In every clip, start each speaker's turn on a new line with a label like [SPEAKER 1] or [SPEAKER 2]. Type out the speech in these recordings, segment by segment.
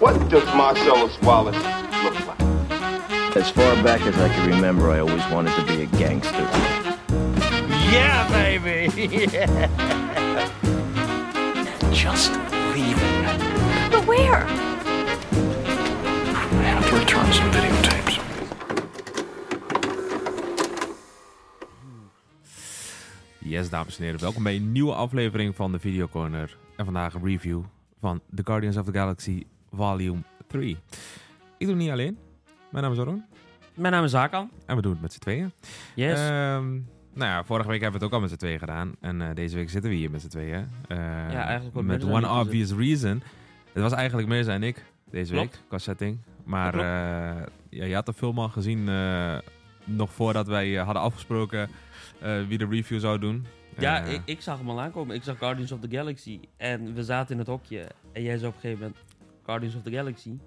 [SPEAKER 1] What does Marcellus Wallace look like?
[SPEAKER 2] As far back as I can remember, I always wanted to be a gangster.
[SPEAKER 3] Yeah, baby!
[SPEAKER 4] Just leaving.
[SPEAKER 5] But where?
[SPEAKER 4] I have to return some videotapes.
[SPEAKER 6] Yes, dames en heren. Welkom bij een nieuwe aflevering van de Video Corner. En vandaag een review van The Guardians of the Galaxy Volume 3. Ik doe het niet alleen. Mijn naam is Aron.
[SPEAKER 3] Mijn naam is Hakan.
[SPEAKER 6] En we doen het met z'n tweeën.
[SPEAKER 3] Yes.
[SPEAKER 6] Ehm, nou ja, vorige week hebben we het ook al met z'n tweeën gedaan. En eh, deze week zitten we hier met z'n tweeën. Eh,
[SPEAKER 3] eigenlijk wordt
[SPEAKER 6] Met
[SPEAKER 3] Mirza
[SPEAKER 6] One
[SPEAKER 3] niet gezet.
[SPEAKER 6] Obvious Reason. Het was eigenlijk meer zijn ik deze week qua setting. Maar
[SPEAKER 3] Dat
[SPEAKER 6] eh, ja, je had de film al gezien eh, nog voordat wij eh, hadden afgesproken eh, wie de review zou doen.
[SPEAKER 3] ja,
[SPEAKER 6] Eh,
[SPEAKER 3] ik, ik zag hem al aankomen. Ik zag Guardians of the Galaxy. En we zaten in het hokje. En jij zei op een gegeven moment Guardians of the Galaxy.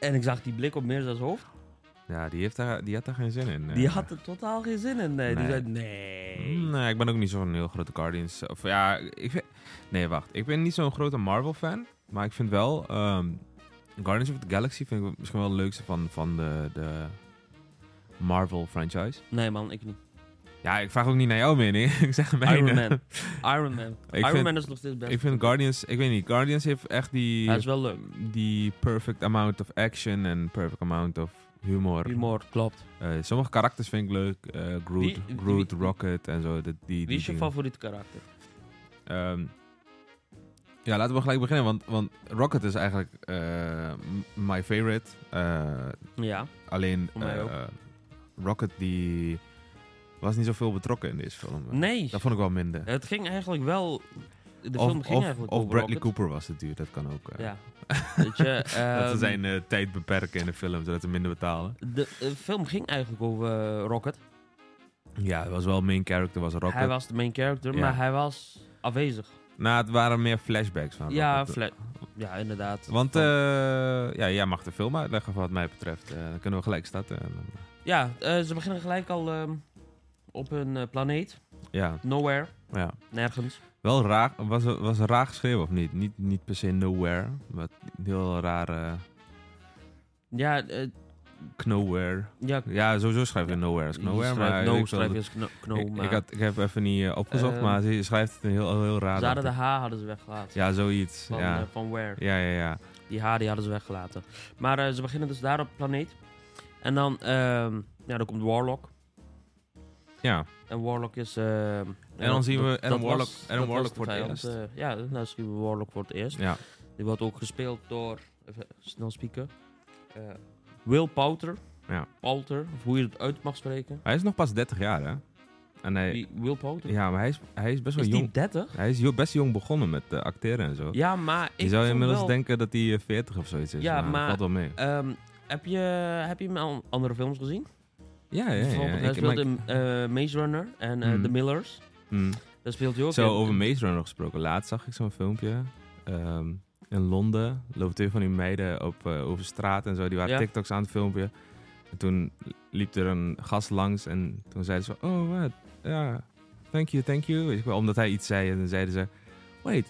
[SPEAKER 3] En ik zag die blik op Mirza's hoofd.
[SPEAKER 6] Ja, die, heeft daar, die had daar geen zin in.
[SPEAKER 3] Die
[SPEAKER 6] Eh,
[SPEAKER 3] had er totaal geen zin in. Nee. Die
[SPEAKER 6] Nee.
[SPEAKER 3] zei, nee.
[SPEAKER 6] mm, Nee, ik ben ook niet zo'n heel grote Guardians. Of ja, ik vind- Nee, wacht. Ik ben niet zo'n grote Marvel-fan. Maar ik vind wel... ehm, Guardians of the Galaxy vind ik misschien wel het leukste van, van de, de Marvel-franchise.
[SPEAKER 3] Nee man, ik niet.
[SPEAKER 6] Ja, ik vraag ook niet naar jouw mening. ik zeg mijn
[SPEAKER 3] Iron
[SPEAKER 6] eh,
[SPEAKER 3] Man. Iron Man. Iron
[SPEAKER 6] vind-
[SPEAKER 3] Man is nog steeds best.
[SPEAKER 6] Ik vind Guardians... Ik weet niet. Guardians heeft echt die...
[SPEAKER 3] Hij is wel leuk.
[SPEAKER 6] Die perfect amount of action en perfect amount of humor.
[SPEAKER 3] Humor, klopt.
[SPEAKER 6] Eh, sommige karakters vind ik leuk. Eh, Groot,
[SPEAKER 3] Wie-
[SPEAKER 6] Groot
[SPEAKER 3] wie-
[SPEAKER 6] Rocket en zo. Die, die,
[SPEAKER 3] Wie is
[SPEAKER 6] die
[SPEAKER 3] je
[SPEAKER 6] dingen.
[SPEAKER 3] favoriete karakter?
[SPEAKER 6] Ehm, ja, laten we gelijk beginnen, want, want Rocket is eigenlijk eh, m- my favorite. Eh,
[SPEAKER 3] Ja.
[SPEAKER 6] alleen
[SPEAKER 3] Voor mij
[SPEAKER 6] eh,
[SPEAKER 3] ook.
[SPEAKER 6] eh, Rocket die was niet zoveel betrokken in deze film.
[SPEAKER 3] Nee.
[SPEAKER 6] Dat vond ik wel minder.
[SPEAKER 3] Het ging eigenlijk wel... De
[SPEAKER 6] of
[SPEAKER 3] film ging
[SPEAKER 6] of-
[SPEAKER 3] eigenlijk
[SPEAKER 6] of
[SPEAKER 3] over
[SPEAKER 6] Bradley
[SPEAKER 3] Rocket.
[SPEAKER 6] Cooper was het duur, dat kan ook. eh.
[SPEAKER 3] Ja. Weet je,
[SPEAKER 6] Dat
[SPEAKER 3] ehm,
[SPEAKER 6] ze zijn eh, tijd beperken in de film, zodat ze minder betalen.
[SPEAKER 3] De eh, film ging eigenlijk over eh, Rocket.
[SPEAKER 6] Ja, hij was wel main character, was Rocket.
[SPEAKER 3] Hij was de main character,
[SPEAKER 6] Ja.
[SPEAKER 3] maar hij was afwezig.
[SPEAKER 6] Nou, het waren meer flashbacks van
[SPEAKER 3] ja,
[SPEAKER 6] Rocket.
[SPEAKER 3] fla- ja, inderdaad.
[SPEAKER 6] Want
[SPEAKER 3] Van-
[SPEAKER 6] eh, ja, jij mag de film uitleggen wat mij betreft. Eh, dan kunnen we gelijk starten. En dan-
[SPEAKER 3] ja, eh, ze beginnen gelijk al ehm, op een eh, planeet.
[SPEAKER 6] Ja,
[SPEAKER 3] Nowhere.
[SPEAKER 6] ja.
[SPEAKER 3] Nergens.
[SPEAKER 6] Wel raar, was, was een raar geschreven of niet? Niet, niet per se nowhere, maar een heel raar eh,
[SPEAKER 3] Ja, eh,
[SPEAKER 6] knowhere.
[SPEAKER 3] ja
[SPEAKER 6] Ja, sowieso schrijf je nowhere als
[SPEAKER 3] je
[SPEAKER 6] nowhere,
[SPEAKER 3] schrijft
[SPEAKER 6] maar
[SPEAKER 3] no,
[SPEAKER 6] ik,
[SPEAKER 3] schrijf je
[SPEAKER 6] ik,
[SPEAKER 3] als kno- kno,
[SPEAKER 6] ik,
[SPEAKER 3] maar
[SPEAKER 6] had, ik heb even niet eh, opgezocht,
[SPEAKER 3] Eh,
[SPEAKER 6] maar ze schrijft het een heel, heel, heel raar.
[SPEAKER 3] ze hadden de
[SPEAKER 6] dacht ik.
[SPEAKER 3] H hadden ze weggelaten.
[SPEAKER 6] Ja, zoiets.
[SPEAKER 3] Van,
[SPEAKER 6] ja.
[SPEAKER 3] eh, van Where.
[SPEAKER 6] ja, ja, ja.
[SPEAKER 3] Die H die hadden ze weggelaten. Maar eh, ze beginnen dus daar op planeet. En dan, ehm, ja, dan komt Warlock.
[SPEAKER 6] Ja,
[SPEAKER 3] En Warlock is... ehm,
[SPEAKER 6] En dan zien we
[SPEAKER 3] dat-
[SPEAKER 6] Adam
[SPEAKER 3] dat
[SPEAKER 6] Warlock-
[SPEAKER 3] was-
[SPEAKER 6] Adam
[SPEAKER 3] dat was
[SPEAKER 6] Warlock
[SPEAKER 3] de
[SPEAKER 6] voor het
[SPEAKER 3] vijand,
[SPEAKER 6] eerst.
[SPEAKER 3] eh, ja, dan zien we Warlock voor het eerst.
[SPEAKER 6] ja.
[SPEAKER 3] Die wordt ook gespeeld door, even snel spieken, eh, Will Pouter.
[SPEAKER 6] Ja.
[SPEAKER 3] Pouter, of hoe je het uit mag spreken.
[SPEAKER 6] Hij is nog pas 30 jaar, hè? En hij,
[SPEAKER 3] Wie, Will Pouter?
[SPEAKER 6] ja, maar hij is, hij is best wel
[SPEAKER 3] Is die
[SPEAKER 6] jong.
[SPEAKER 3] 30?
[SPEAKER 6] Hij is jo- best jong begonnen met eh, acteren en zo.
[SPEAKER 3] Ja, maar ik
[SPEAKER 6] je zou
[SPEAKER 3] vond
[SPEAKER 6] inmiddels
[SPEAKER 3] wel-
[SPEAKER 6] denken dat hij eh, 40 of zoiets is.
[SPEAKER 3] Ja,
[SPEAKER 6] dat
[SPEAKER 3] maar-
[SPEAKER 6] valt wel mee.
[SPEAKER 3] Ehm, heb, je, heb je hem al andere films gezien?
[SPEAKER 6] Ja, ja, ja.
[SPEAKER 3] Bijvoorbeeld, hij
[SPEAKER 6] Ik- maar
[SPEAKER 3] speelde
[SPEAKER 6] ik-
[SPEAKER 3] in eh, Maze Runner en eh,
[SPEAKER 6] Mm.
[SPEAKER 3] The Millers.
[SPEAKER 6] Mm.
[SPEAKER 3] Daar speelt hij ook
[SPEAKER 6] Zo,
[SPEAKER 3] in.
[SPEAKER 6] over Maze Runner gesproken. Laatst zag ik zo'n filmpje. ehm, in Londen loopt twee van die meiden op, eh, over straat en zo. Die waren
[SPEAKER 3] Ja.
[SPEAKER 6] TikToks aan het filmpje. En toen liep er een gast langs en toen zeiden ze... Oh, wat? Ja, thank you, thank you. Weet ik wel, omdat hij iets zei. En dan zeiden ze... Wait,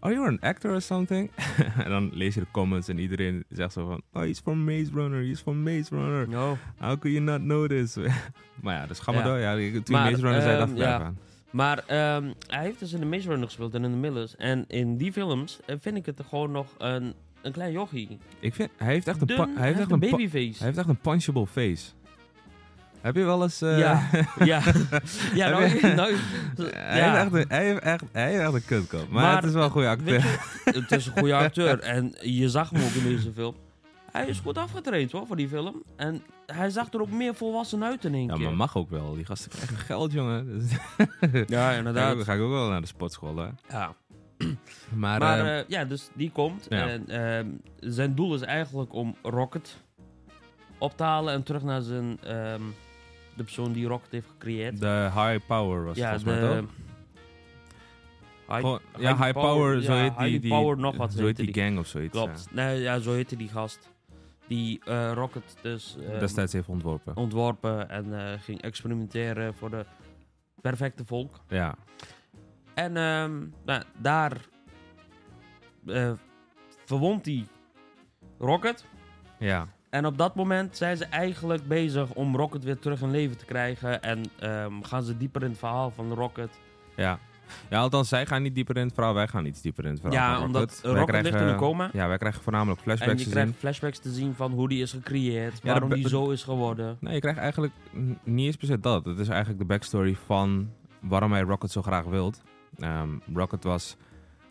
[SPEAKER 6] are you an actor or something? en dan lees je de comments en iedereen zegt zo van... Oh, he's from Maze Runner, he's from Maze Runner.
[SPEAKER 3] No.
[SPEAKER 6] How could you not know this? maar ja, dus ga maar
[SPEAKER 3] Ja.
[SPEAKER 6] door. Ja, toen
[SPEAKER 3] Maar,
[SPEAKER 6] Maze Runner zei,
[SPEAKER 3] ehm,
[SPEAKER 6] dat ik
[SPEAKER 3] ja.
[SPEAKER 6] aan.
[SPEAKER 3] Maar ehm, hij heeft dus in de Maze Runner gespeeld en in de Millers. En in die films eh, vind ik het gewoon nog een, een klein jochie.
[SPEAKER 6] Ik vind, hij heeft echt een,
[SPEAKER 3] Dun,
[SPEAKER 6] pa- hij heeft echt een, pa-
[SPEAKER 3] babyface.
[SPEAKER 6] hij heeft echt een punchable face. Heb je wel eens... eh,
[SPEAKER 3] Ja, ja. ja, nou,
[SPEAKER 6] Heb je-
[SPEAKER 3] nou,
[SPEAKER 6] hij,
[SPEAKER 3] ja.
[SPEAKER 6] heeft echt een, hij heeft echt hij heeft echt een kutkop. Maar,
[SPEAKER 3] Maar-
[SPEAKER 6] het is wel een goede
[SPEAKER 3] Weet
[SPEAKER 6] acteur.
[SPEAKER 3] je, het is een goede acteur. En je zag hem ook in deze film. Hij is goed afgetraind hoor, voor die film. En hij zag er ook meer volwassen uit in één
[SPEAKER 6] Ja,
[SPEAKER 3] keer.
[SPEAKER 6] maar mag ook wel. Die gasten krijgen geld, jongen. Dus,
[SPEAKER 3] Ja,
[SPEAKER 6] daar
[SPEAKER 3] inderdaad.
[SPEAKER 6] ga ik ook wel naar de sportschool, hè.
[SPEAKER 3] Ja.
[SPEAKER 6] Maar,
[SPEAKER 3] Maar
[SPEAKER 6] ehm,
[SPEAKER 3] eh, ja, dus die komt.
[SPEAKER 6] Ja.
[SPEAKER 3] En ehm, zijn doel is eigenlijk om Rocket op te halen en terug naar zijn, ehm, de persoon die Rocket heeft gecreëerd.
[SPEAKER 6] eh, de high power was
[SPEAKER 3] ja,
[SPEAKER 6] het volgens mij toch?
[SPEAKER 3] High-
[SPEAKER 6] Gewoon-
[SPEAKER 3] high
[SPEAKER 6] ja, high
[SPEAKER 3] power,
[SPEAKER 6] power, zo
[SPEAKER 3] ja,
[SPEAKER 6] heet die,
[SPEAKER 3] high
[SPEAKER 6] die,
[SPEAKER 3] power, nog wat
[SPEAKER 6] zo
[SPEAKER 3] heette
[SPEAKER 6] heet die
[SPEAKER 3] die.
[SPEAKER 6] gang of zoiets.
[SPEAKER 3] Klopt. Nee, ja, zo heette die gast. Die eh, Rocket dus
[SPEAKER 6] ja.
[SPEAKER 3] ehm,
[SPEAKER 6] Destijds heeft ontworpen.
[SPEAKER 3] Oh. ontworpen en eh, ging experimenteren voor de perfecte volk.
[SPEAKER 6] Ja.
[SPEAKER 3] En ehm, nou, daar eh verwondt hij Rocket.
[SPEAKER 6] Ja.
[SPEAKER 3] En op dat moment zijn ze eigenlijk bezig om Rocket weer terug in leven te krijgen. En ehm, gaan ze dieper in het verhaal van Rocket.
[SPEAKER 6] Ja. Ja, althans, zij gaan niet dieper in het verhaal. Wij gaan iets dieper in het verhaal.
[SPEAKER 3] Ja,
[SPEAKER 6] van
[SPEAKER 3] omdat
[SPEAKER 6] Rocket, Wij
[SPEAKER 3] Rocket
[SPEAKER 6] krijgen-
[SPEAKER 3] ligt in een coma.
[SPEAKER 6] Ja, wij krijgen voornamelijk
[SPEAKER 3] En
[SPEAKER 6] flashbacks
[SPEAKER 3] je
[SPEAKER 6] te
[SPEAKER 3] krijgt
[SPEAKER 6] zien.
[SPEAKER 3] flashbacks te zien van hoe die is gecreëerd.
[SPEAKER 6] de
[SPEAKER 3] waarom
[SPEAKER 6] be-
[SPEAKER 3] die zo is geworden.
[SPEAKER 6] Nee, je krijgt eigenlijk n- niet eens per se dat. Het is eigenlijk de backstory van waarom hij Rocket zo graag wilt. Ehm, Rocket was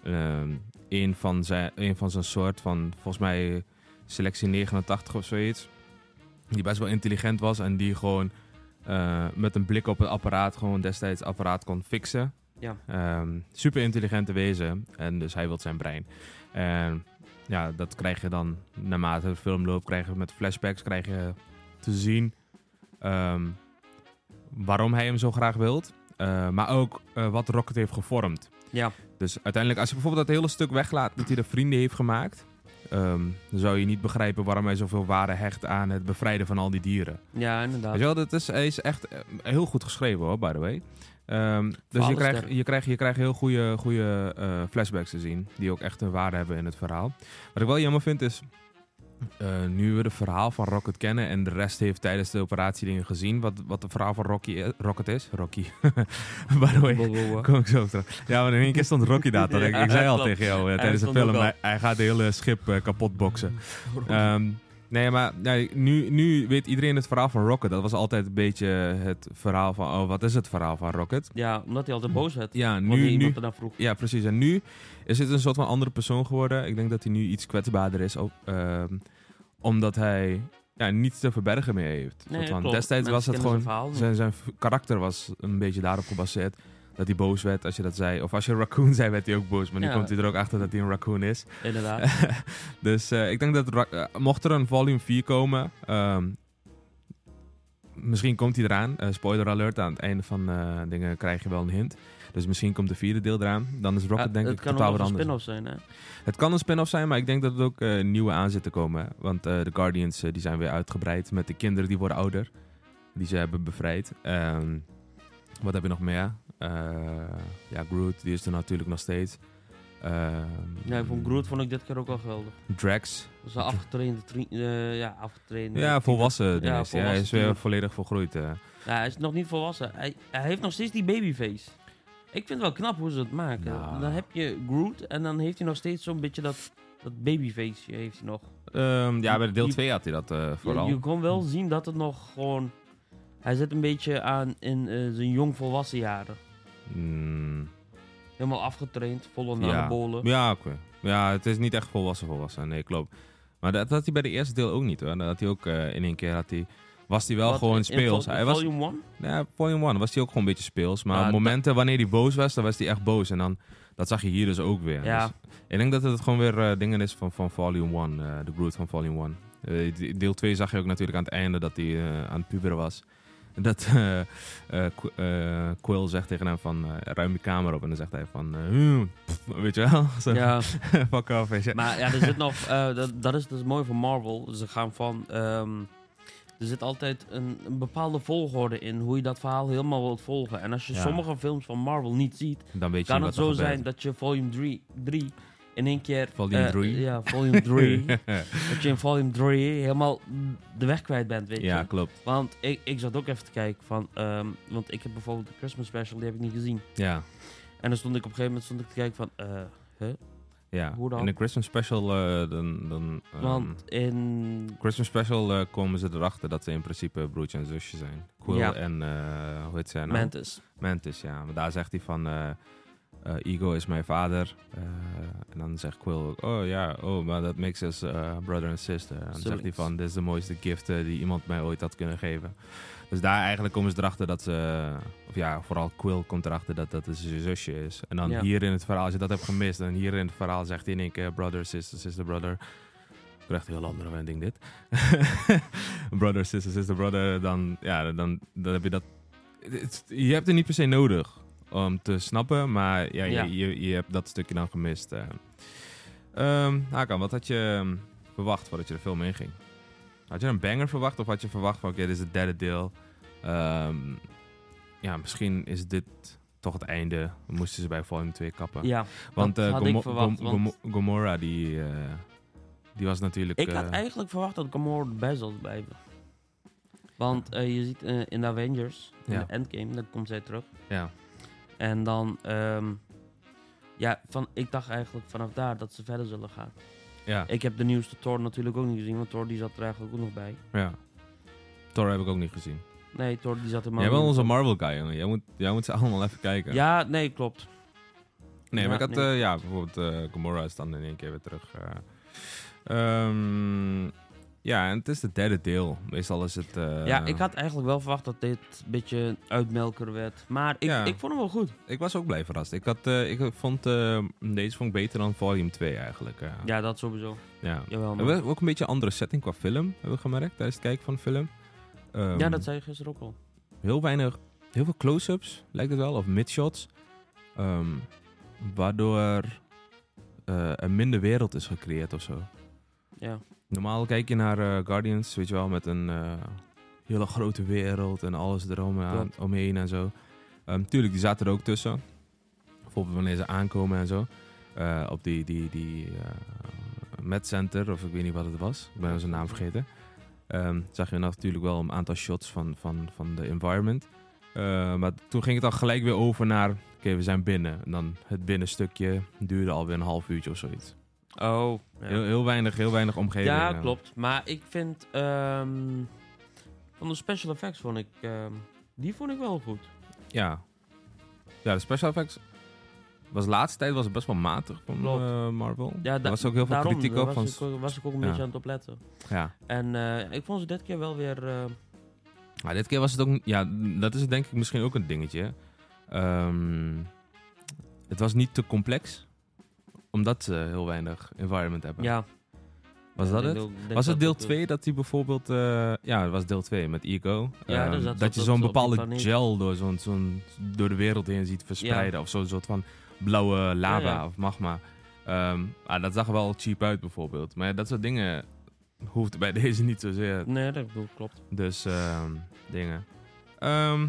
[SPEAKER 6] ehm een, van zijn, een van zijn soort van, volgens mij, selectie 89 of zoiets. Die best wel intelligent was en die gewoon eh, met een blik op het apparaat gewoon destijds het apparaat kon fixen.
[SPEAKER 3] Ja.
[SPEAKER 6] Ehm, super intelligente wezen en dus hij wil zijn brein. En ja, dat krijg je dan naarmate de film loopt, krijg je met flashbacks, krijg je te zien ehm, waarom hij hem zo graag wilt. Eh, maar ook eh, wat Rocket heeft gevormd.
[SPEAKER 3] Ja,
[SPEAKER 6] Dus uiteindelijk, als je bijvoorbeeld dat hele stuk weglaat dat hij de vrienden heeft gemaakt, ehm, dan zou je niet begrijpen waarom hij zoveel waarde hecht aan het bevrijden van al die dieren.
[SPEAKER 3] ja
[SPEAKER 6] Weet
[SPEAKER 3] inderdaad.
[SPEAKER 6] je wel, dat is, hij is echt eh, heel goed geschreven hoor, by the way. Ehm, dus
[SPEAKER 3] Verhaal
[SPEAKER 6] je
[SPEAKER 3] is
[SPEAKER 6] krijgt,
[SPEAKER 3] sterk.
[SPEAKER 6] je, krijgt, je krijgt heel goede, goede eh, flashbacks te zien, die ook echt een waarde hebben in het verhaal. Wat ik wel jammer vind is, eh, nu we het verhaal van Rocket kennen en de rest heeft tijdens de operatie dingen gezien, wat, wat het verhaal van Rocky, i- Rocket is. Rocky, by the way.
[SPEAKER 3] Wow, wow, wow.
[SPEAKER 6] Kom ik zo op terug. Ja, maar in één keer stond Rocky daar. toch? ik,
[SPEAKER 3] Ja,
[SPEAKER 6] ik zei al
[SPEAKER 3] klopt.
[SPEAKER 6] tegen jou eh,
[SPEAKER 3] Hij
[SPEAKER 6] tijdens de
[SPEAKER 3] stond ook
[SPEAKER 6] film,
[SPEAKER 3] al.
[SPEAKER 6] hij, hij gaat de hele schip eh, kapot boksen. Ehm, nee, maar nee, nu, nu weet iedereen het verhaal van Rocket. Dat was altijd een beetje het verhaal van, oh, wat is het verhaal van Rocket?
[SPEAKER 3] Ja, omdat hij altijd boos werd.
[SPEAKER 6] Ja,
[SPEAKER 3] wanneer
[SPEAKER 6] nu, nu,
[SPEAKER 3] iemand ernaar vroeg.
[SPEAKER 6] ja, precies. En nu is het een soort van andere persoon geworden. Ik denk dat hij nu iets kwetsbaarder is, ook, ehm, omdat hij ja, niets te verbergen meer heeft.
[SPEAKER 3] Nee,
[SPEAKER 6] Soort van,
[SPEAKER 3] klopt.
[SPEAKER 6] Destijds
[SPEAKER 3] Mensen
[SPEAKER 6] was het
[SPEAKER 3] kennen
[SPEAKER 6] gewoon,
[SPEAKER 3] zijn verhaal niet.
[SPEAKER 6] zijn, zijn v- karakter was een beetje daarop gebaseerd. Dat hij boos werd als je dat zei. Of als je raccoon zei, werd hij ook boos. Maar nu
[SPEAKER 3] Ja.
[SPEAKER 6] komt hij er ook achter dat hij een raccoon is.
[SPEAKER 3] Inderdaad.
[SPEAKER 6] dus eh, ik denk dat Ra- eh, mocht er een volume 4 komen, ehm, misschien komt hij eraan. Eh, spoiler alert, aan het einde van eh, dingen krijg je wel een hint. Dus misschien komt de vierde deel eraan. Dan is Rocket
[SPEAKER 3] Ah,
[SPEAKER 6] denk
[SPEAKER 3] het
[SPEAKER 6] ik
[SPEAKER 3] kan
[SPEAKER 6] totaal
[SPEAKER 3] ook nog
[SPEAKER 6] wat
[SPEAKER 3] een
[SPEAKER 6] anders.
[SPEAKER 3] spin-off zijn, hè?
[SPEAKER 6] Het kan een spin-off zijn, maar ik denk dat het ook eh, nieuwe aan zit te komen. hè. Want eh, de Guardians eh, die zijn weer uitgebreid met de kinderen die worden ouder. Die ze hebben bevrijd. Ehm, wat heb je nog meer? Eh, ja, Groot, die is er natuurlijk nog steeds. Ehm,
[SPEAKER 3] Ja, ik vond Groot vond ik dit keer ook wel geweldig.
[SPEAKER 6] Drax.
[SPEAKER 3] Dat is een afgetrainde... tri- eh, ja, afgetrainde...
[SPEAKER 6] Ja, volwassen.
[SPEAKER 3] Ja,
[SPEAKER 6] Dennis. Ja, hij is
[SPEAKER 3] volwassen
[SPEAKER 6] weer
[SPEAKER 3] tiener.
[SPEAKER 6] volledig volgroeid. eh.
[SPEAKER 3] Ja, Nou, hij is nog niet volwassen. Hij, hij heeft nog steeds die babyface. Ik vind het wel knap hoe ze het maken.
[SPEAKER 6] Nou.
[SPEAKER 3] Dan heb je Groot en dan heeft hij nog steeds zo'n beetje dat, dat babyface heeft hij nog.
[SPEAKER 6] Ehm, ja, bij de deel
[SPEAKER 3] Je-
[SPEAKER 6] 2 had hij dat eh,
[SPEAKER 3] Je,
[SPEAKER 6] vooral.
[SPEAKER 3] je kon wel zien dat het nog gewoon... Hij zit een beetje aan in eh, zijn jong volwassen jaren.
[SPEAKER 6] Mm,
[SPEAKER 3] Helemaal afgetraind, volle
[SPEAKER 6] ja,
[SPEAKER 3] anabolen.
[SPEAKER 6] ja, oké. ja, het is niet echt volwassen volwassen. Nee, klopt. Maar dat had hij bij de eerste deel ook niet hoor. Dat had hij ook eh, in één keer had hij. Was hij wel
[SPEAKER 3] Wat
[SPEAKER 6] gewoon
[SPEAKER 3] in
[SPEAKER 6] speels.
[SPEAKER 3] vol-
[SPEAKER 6] Hij was,
[SPEAKER 3] Volume 1?
[SPEAKER 6] ja, volume 1 was hij ook gewoon een beetje speels. Maar
[SPEAKER 3] Maar
[SPEAKER 6] op
[SPEAKER 3] dat-
[SPEAKER 6] momenten wanneer hij boos was, dan was hij echt boos. En dan, dat zag je hier dus ook weer.
[SPEAKER 3] Ja.
[SPEAKER 6] Dus ik denk dat het gewoon weer eh, dingen is van, van volume 1. eh, de Groot van volume 1. Eh, de- deel 2 zag je ook natuurlijk aan het einde dat hij eh, aan het puberen was. Dat eh eh, Qu- eh, Quill zegt tegen hem van eh, ruim je kamer op. En dan zegt hij van, eh, "Hm, pff," weet je wel, Zo,
[SPEAKER 3] Ja,
[SPEAKER 6] fuck off. weet je.
[SPEAKER 3] maar ja, er zit nog... eh, dat, dat, is, dat is mooi van Marvel. Ze gaan van... ehm, er zit altijd een, een bepaalde volgorde in hoe je dat verhaal helemaal wilt volgen. En als je
[SPEAKER 6] Ja.
[SPEAKER 3] sommige films van Marvel niet ziet,
[SPEAKER 6] dan weet je
[SPEAKER 3] kan
[SPEAKER 6] niet
[SPEAKER 3] het
[SPEAKER 6] wat
[SPEAKER 3] zo
[SPEAKER 6] er gebeurt.
[SPEAKER 3] zijn dat je volume 3, 3 in één keer...
[SPEAKER 6] Volume
[SPEAKER 3] eh,
[SPEAKER 6] drie?
[SPEAKER 3] Ja, volume 3. dat je in volume 3 helemaal de weg kwijt bent, weet
[SPEAKER 6] ja,
[SPEAKER 3] je.
[SPEAKER 6] klopt.
[SPEAKER 3] Want ik, ik zat ook even te kijken van... ehm, want ik heb bijvoorbeeld de Christmas special, die heb ik niet gezien.
[SPEAKER 6] Ja,
[SPEAKER 3] En dan stond ik op een gegeven moment stond ik te kijken van... eh,
[SPEAKER 6] Ehm. ja.
[SPEAKER 3] Hoe dan?
[SPEAKER 6] In de Christmas special, eh, dan... dan ehm,
[SPEAKER 3] want in...
[SPEAKER 6] Christmas special eh, komen ze erachter dat ze in principe broertje en zusje zijn. Quill
[SPEAKER 3] Ja.
[SPEAKER 6] en, eh, hoe heet zij nou?
[SPEAKER 3] Mantis.
[SPEAKER 6] Mantis, ja. Maar daar zegt hij van, eh eh, Ego is mijn vader. Eh, en dan zegt Quill ook, oh ja, oh, maar dat makes us eh, brother and sister. En dan zegt hij
[SPEAKER 3] Zoiets.
[SPEAKER 6] van, dit is de mooiste gift eh, die iemand mij ooit had kunnen geven. Dus daar eigenlijk komen ze erachter dat ze, eh, of ja, vooral Quill komt erachter dat dat zijn zusje is. En dan
[SPEAKER 3] Ja.
[SPEAKER 6] hier in het verhaal, als je dat hebt gemist, en hier in het verhaal zegt hij in één keer, brother, sister, sister, brother. Ik krijg een heel andere wending dit. brother, sister, sister, brother. Dan, ja, dan, dan heb je dat het- je hebt het niet per se nodig om te snappen, maar ja, je-
[SPEAKER 3] Ja.
[SPEAKER 6] Je, je, hebt dat stukje dan gemist. eh. Ehm, Hakan, wat had je ehm, verwacht voordat je de film inging? Had je een banger verwacht of had je verwacht van oké, dit is het derde deel. Ehm, ja, misschien is dit toch het einde. We moesten ze bij volume 2 kappen.
[SPEAKER 3] Ja,
[SPEAKER 6] want
[SPEAKER 3] dat
[SPEAKER 6] eh,
[SPEAKER 3] had ik
[SPEAKER 6] Gomo-
[SPEAKER 3] verwacht,
[SPEAKER 6] Gom-
[SPEAKER 3] want-
[SPEAKER 6] Gomo- Gomorra die, eh, Die was natuurlijk...
[SPEAKER 3] Ik had
[SPEAKER 6] eh,
[SPEAKER 3] eigenlijk verwacht dat Gamora de bij zou blijven. Want eh, je ziet eh, in de Avengers, in
[SPEAKER 6] Ja.
[SPEAKER 3] de Endgame, dan komt zij terug.
[SPEAKER 6] Ja,
[SPEAKER 3] En dan, ehm, ja, van, ik dacht eigenlijk vanaf daar dat ze verder zullen gaan.
[SPEAKER 6] ja,
[SPEAKER 3] Ik heb de nieuwste Thor natuurlijk ook niet gezien, want Thor die zat er eigenlijk ook nog bij.
[SPEAKER 6] ja. Thor heb ik ook niet gezien.
[SPEAKER 3] Nee, Thor die zat er maar
[SPEAKER 6] jij bent
[SPEAKER 3] niet.
[SPEAKER 6] onze Marvel guy, jongen. Jij moet, jij moet ze allemaal even kijken.
[SPEAKER 3] Ja, nee, klopt.
[SPEAKER 6] Nee, maar
[SPEAKER 3] Ja,
[SPEAKER 6] ik had,
[SPEAKER 3] nee.
[SPEAKER 6] eh, ja, bijvoorbeeld eh Gamora is dan in één keer weer terug. eh. Ehm, ja, en het is de derde deel. Meestal is het... eh,
[SPEAKER 3] ja, ik had eigenlijk wel verwacht dat dit een beetje uitmelker werd. Maar ik,
[SPEAKER 6] Ja.
[SPEAKER 3] ik vond hem wel goed.
[SPEAKER 6] Ik was ook blij verrast. Ik, had, eh, ik vond, eh, deze vond ik beter dan volume 2 eigenlijk. eh.
[SPEAKER 3] Ja, dat sowieso.
[SPEAKER 6] ja.
[SPEAKER 3] Jawel,
[SPEAKER 6] We
[SPEAKER 3] man.
[SPEAKER 6] hebben ook een beetje een andere setting qua film, hebben we gemerkt, tijdens het kijken van de film. Ehm,
[SPEAKER 3] Ja, dat zei je gisteren ook al.
[SPEAKER 6] Heel weinig, heel veel close-ups, lijkt het wel, of midshots. Ehm, waardoor eh, er minder wereld is gecreëerd of zo.
[SPEAKER 3] Ja.
[SPEAKER 6] Normaal kijk je naar eh, Guardians, weet je wel, met een eh, hele grote wereld en alles erom,
[SPEAKER 3] Klopt.
[SPEAKER 6] omheen en zo. Ehm, tuurlijk, die zaten er ook tussen. Bijvoorbeeld wanneer ze aankomen en zo. Eh, op die, die, die eh, medcenter, of ik weet niet wat het was. Ik ben zijn naam vergeten. Ehm, zag je natuurlijk wel een aantal shots van, van, van de environment. Eh, maar toen ging het al gelijk weer over naar, oké, we zijn binnen. En dan het binnenstukje duurde alweer een half uurtje of zoiets.
[SPEAKER 3] Oh. Ja,
[SPEAKER 6] Heel, heel weinig, heel weinig omgeving.
[SPEAKER 3] Ja,
[SPEAKER 6] eh.
[SPEAKER 3] klopt. Maar ik vind... ehm, van de special effects vond ik... ehm, die vond ik wel goed.
[SPEAKER 6] Ja. Ja, de special effects was de laatste tijd was het best wel matig van
[SPEAKER 3] Klopt.
[SPEAKER 6] eh, Marvel.
[SPEAKER 3] Ja,
[SPEAKER 6] er
[SPEAKER 3] da-
[SPEAKER 6] was ook heel veel
[SPEAKER 3] daarom,
[SPEAKER 6] kritiek
[SPEAKER 3] daar
[SPEAKER 6] op. Van,
[SPEAKER 3] Was, ik, ook- was ik ook een
[SPEAKER 6] Ja.
[SPEAKER 3] beetje aan het opletten.
[SPEAKER 6] ja.
[SPEAKER 3] En eh, ik vond ze dit keer wel weer... eh,
[SPEAKER 6] Maar dit keer was het ook... Ja, dat is denk ik misschien ook een dingetje. Ehm, het was niet te complex. Omdat ze heel weinig environment hebben.
[SPEAKER 3] ja.
[SPEAKER 6] Was
[SPEAKER 3] Ja,
[SPEAKER 6] dat
[SPEAKER 3] ik
[SPEAKER 6] het?
[SPEAKER 3] denk ook- ik denk
[SPEAKER 6] was het
[SPEAKER 3] dat
[SPEAKER 6] deel
[SPEAKER 3] ook, eh,
[SPEAKER 6] 2 dat hij bijvoorbeeld... eh, ja, het was deel 2 met Ego.
[SPEAKER 3] Ja,
[SPEAKER 6] Ehm,
[SPEAKER 3] dus
[SPEAKER 6] dat,
[SPEAKER 3] dat zat
[SPEAKER 6] je
[SPEAKER 3] op-
[SPEAKER 6] zo'n
[SPEAKER 3] op die
[SPEAKER 6] bepaalde
[SPEAKER 3] planeet.
[SPEAKER 6] gel door, zo'n zo'n door de wereld heen ziet verspreiden. Of zo'n soort van blauwe lava
[SPEAKER 3] Ja, ja.
[SPEAKER 6] of magma. Ehm, ah, dat zag er wel cheap uit bijvoorbeeld. Maar ja, dat soort dingen hoeft bij deze niet zozeer.
[SPEAKER 3] Nee, dat bedoel- klopt.
[SPEAKER 6] Dus ehm, dingen. Ehm,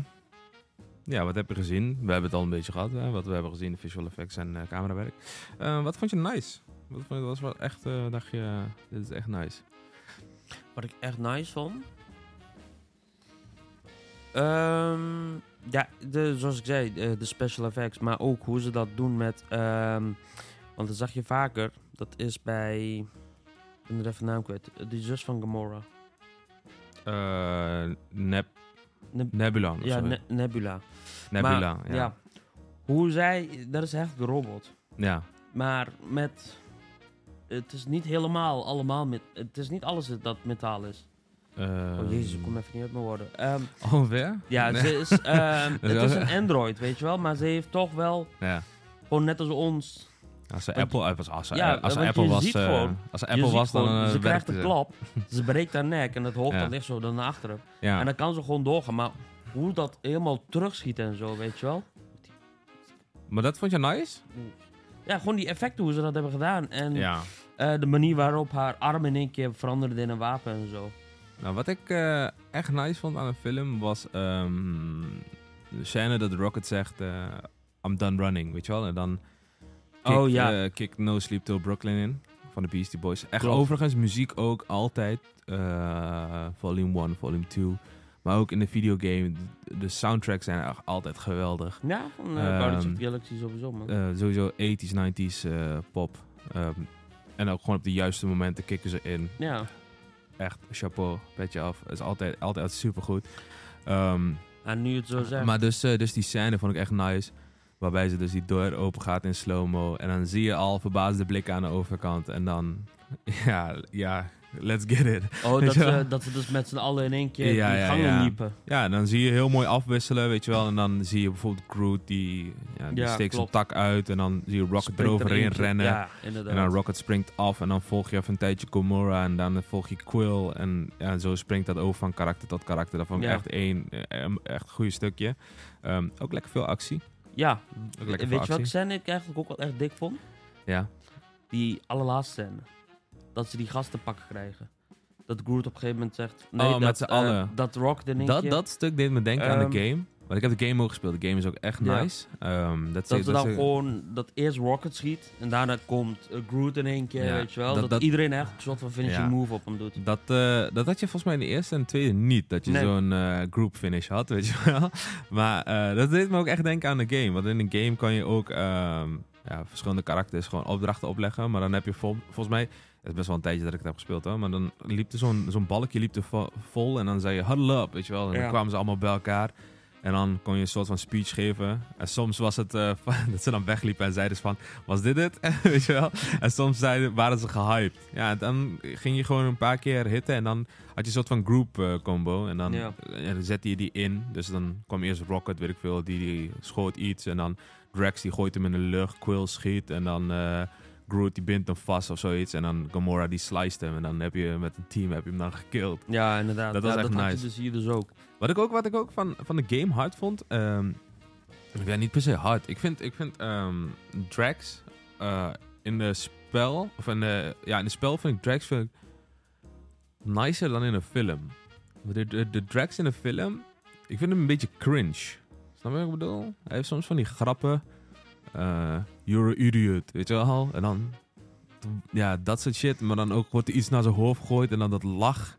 [SPEAKER 6] ja, wat heb je gezien? We hebben het al een beetje gehad. Hè? Wat we hebben gezien, visual effects en eh, camerawerk. Eh, wat vond je nice? Wat vond je, was wel echt, eh, dacht je, eh, dit is echt nice.
[SPEAKER 3] Wat ik echt nice vond... Ehm, ja, de, zoals ik zei, eh, de, de special effects. Maar ook hoe ze dat doen met... ehm, want dat zag je vaker. Dat is bij... Ik ben er even naam kwijt. De zus van Gamora.
[SPEAKER 6] Eh, Neb
[SPEAKER 3] Ne-
[SPEAKER 6] Nebula. of
[SPEAKER 3] ja,
[SPEAKER 6] zo.
[SPEAKER 3] Ne- Nebula.
[SPEAKER 6] Nebula,
[SPEAKER 3] Maar,
[SPEAKER 6] ja.
[SPEAKER 3] ja.
[SPEAKER 6] Ja.
[SPEAKER 3] Hoe zij, dat is echt de robot.
[SPEAKER 6] ja.
[SPEAKER 3] Maar met, het is niet helemaal allemaal, met, het is niet alles dat metaal is.
[SPEAKER 6] Ehm,
[SPEAKER 3] oh jezus, ik kom even niet uit mijn woorden. Ehm,
[SPEAKER 6] Alweer?
[SPEAKER 3] ja,
[SPEAKER 6] Nee.
[SPEAKER 3] ze is, ehm,
[SPEAKER 6] Dat is
[SPEAKER 3] het
[SPEAKER 6] wel-
[SPEAKER 3] is een android, weet je wel. Maar ze heeft toch wel,
[SPEAKER 6] Ja.
[SPEAKER 3] gewoon net als ons,
[SPEAKER 6] Als ze
[SPEAKER 3] Want-
[SPEAKER 6] Apple uit was, als ze,
[SPEAKER 3] Ja,
[SPEAKER 6] als ze
[SPEAKER 3] want
[SPEAKER 6] Apple
[SPEAKER 3] je
[SPEAKER 6] was,
[SPEAKER 3] ziet
[SPEAKER 6] eh,
[SPEAKER 3] gewoon-
[SPEAKER 6] als ze
[SPEAKER 3] je
[SPEAKER 6] Apple
[SPEAKER 3] ziet
[SPEAKER 6] was, dan
[SPEAKER 3] gewoon,
[SPEAKER 6] eh,
[SPEAKER 3] ze krijgt
[SPEAKER 6] werkte
[SPEAKER 3] een
[SPEAKER 6] ze.
[SPEAKER 3] klap, ze breekt haar nek en het hoofd
[SPEAKER 6] Ja.
[SPEAKER 3] dat ligt zo dan naar achteren.
[SPEAKER 6] Ja.
[SPEAKER 3] En dan kan ze gewoon doorgaan, maar hoe dat helemaal terugschiet en zo, weet je wel.
[SPEAKER 6] Maar dat vond je nice?
[SPEAKER 3] Ja, gewoon die effecten hoe ze dat hebben gedaan. En
[SPEAKER 6] Ja.
[SPEAKER 3] Eh, de manier waarop haar arm in één keer veranderde in een wapen en zo.
[SPEAKER 6] Nou, wat ik eh, echt nice vond aan een film was ehm, de scène dat Rocket zegt, eh, I'm done running, weet je wel? En dan kick,
[SPEAKER 3] Oh, ja.
[SPEAKER 6] eh, kick No Sleep Till Brooklyn in van de Beastie Boys. Echt
[SPEAKER 3] Klopt.
[SPEAKER 6] overigens muziek ook altijd, eh, volume 1, volume 2. Maar ook in de videogame, de- de soundtracks zijn echt altijd geweldig.
[SPEAKER 3] Ja, van eh,
[SPEAKER 6] Ehm,
[SPEAKER 3] Guardians of the Galaxy sowieso, man.
[SPEAKER 6] Eh, sowieso 80s, 90s eh, pop. Ehm, en ook gewoon op de juiste momenten kicken ze in.
[SPEAKER 3] ja.
[SPEAKER 6] Echt, chapeau, petje af. Het is altijd, altijd supergoed. Ehm
[SPEAKER 3] En nu het zo zegt.
[SPEAKER 6] maar dus, eh, dus die scène vond ik echt nice. Waarbij ze dus die deur open gaat in slow-mo. En dan zie je al verbaasde blikken aan de overkant. En dan, ja, ja, let's get it.
[SPEAKER 3] oh,
[SPEAKER 6] weet
[SPEAKER 3] dat,
[SPEAKER 6] je wel.
[SPEAKER 3] ze, dat ze dus met z'n allen in één keer
[SPEAKER 6] Ja,
[SPEAKER 3] die
[SPEAKER 6] ja,
[SPEAKER 3] gangen
[SPEAKER 6] ja.
[SPEAKER 3] liepen.
[SPEAKER 6] Ja, en dan zie je heel mooi afwisselen, weet je wel. En dan zie je bijvoorbeeld Groot, die, ja, die
[SPEAKER 3] Ja,
[SPEAKER 6] steekt zijn
[SPEAKER 3] klopt.
[SPEAKER 6] tak uit. En dan zie je Rocket
[SPEAKER 3] Springt er
[SPEAKER 6] eroverheen
[SPEAKER 3] eentje-
[SPEAKER 6] rennen.
[SPEAKER 3] Ja,
[SPEAKER 6] En dan
[SPEAKER 3] inderdaad.
[SPEAKER 6] Rocket springt af en dan volg je even een tijdje Komora en dan volg je Quill. En ja, zo springt dat over van karakter tot karakter. Dat vond ik
[SPEAKER 3] Ja.
[SPEAKER 6] echt één eh, em- echt goede stukje. Ehm, ook lekker veel actie.
[SPEAKER 3] ja,
[SPEAKER 6] Ook lekker
[SPEAKER 3] weet je
[SPEAKER 6] veel
[SPEAKER 3] welke
[SPEAKER 6] actie.
[SPEAKER 3] scène ik eigenlijk ook wel echt dik vond?
[SPEAKER 6] Ja.
[SPEAKER 3] Die allerlaatste scène. Dat ze die gasten pakken krijgen. Dat Groot op een gegeven moment zegt... Nee,
[SPEAKER 6] Oh,
[SPEAKER 3] dat,
[SPEAKER 6] met z'n
[SPEAKER 3] eh,
[SPEAKER 6] allen.
[SPEAKER 3] dat Rock in één
[SPEAKER 6] Dat,
[SPEAKER 3] keer...
[SPEAKER 6] dat stuk deed me denken aan de
[SPEAKER 3] Ehm,
[SPEAKER 6] game. Want Maar ik heb de game ook gespeeld. De game is ook echt
[SPEAKER 3] Ja.
[SPEAKER 6] nice. Ehm, dat
[SPEAKER 3] Dat
[SPEAKER 6] is-
[SPEAKER 3] we
[SPEAKER 6] dat
[SPEAKER 3] dan
[SPEAKER 6] is-
[SPEAKER 3] gewoon, dat eerst Rocket schiet en daarna komt eh, Groot in één keer,
[SPEAKER 6] Ja,
[SPEAKER 3] weet je wel.
[SPEAKER 6] dat-
[SPEAKER 3] Dat,
[SPEAKER 6] dat-
[SPEAKER 3] iedereen echt een soort van finishing
[SPEAKER 6] Ja.
[SPEAKER 3] move op hem doet.
[SPEAKER 6] Dat, eh, dat had je volgens mij in de eerste en de tweede niet. Dat je
[SPEAKER 3] Nee.
[SPEAKER 6] zo'n eh, group finish had, weet je wel. Maar eh, dat deed me ook echt denken aan de game. Want in een game kan je ook ehm, ja, verschillende karakters gewoon opdrachten opleggen. Maar dan heb je vol, volgens mij... Het is best wel een tijdje dat ik het heb gespeeld hoor. Maar dan liep er zo'n zo'n balkje liep er vo- vol. En dan zei je huddle up, weet je wel. En dan
[SPEAKER 3] Ja.
[SPEAKER 6] kwamen ze allemaal bij elkaar. En dan kon je een soort van speech geven. En soms was het eh, van- dat ze dan wegliepen en zeiden ze van... Was dit het? Weet je wel? En soms zeiden, waren ze gehyped. Ja, en dan ging je gewoon een paar keer hitten. En dan had je een soort van group eh, combo. En dan
[SPEAKER 3] Ja.
[SPEAKER 6] eh, en dan zette je die in. Dus dan kwam eerst Rocket, weet ik veel. Die, die schoot iets. En dan Drax, die gooit hem in de lucht. Quill schiet. En dan... eh, Groot die bindt hem vast of zoiets. En dan Gamora die sliced hem. En dan heb je met een team heb je hem dan gekilld.
[SPEAKER 3] Ja, inderdaad.
[SPEAKER 6] Dat was
[SPEAKER 3] Ja,
[SPEAKER 6] echt
[SPEAKER 3] dat had je
[SPEAKER 6] nice.
[SPEAKER 3] dus hier dus ook.
[SPEAKER 6] Wat ik ook, wat ik ook van, van de game hard vond. ehm, of ja, niet per se hard. Ik vind, ik vind ehm, Drax eh, in de spel. Of in de, ja, in de spel vind ik Drax vind ik nicer dan in een film. De, de, de Drax in een film. Ik vind hem een beetje cringe. Snap je wat ik bedoel? Hij heeft soms van die grappen. eh, You're an idiot. Weet je wel? En dan. Ja, dat soort shit. Maar dan ook wordt er iets naar zijn hoofd gegooid. En dan dat lach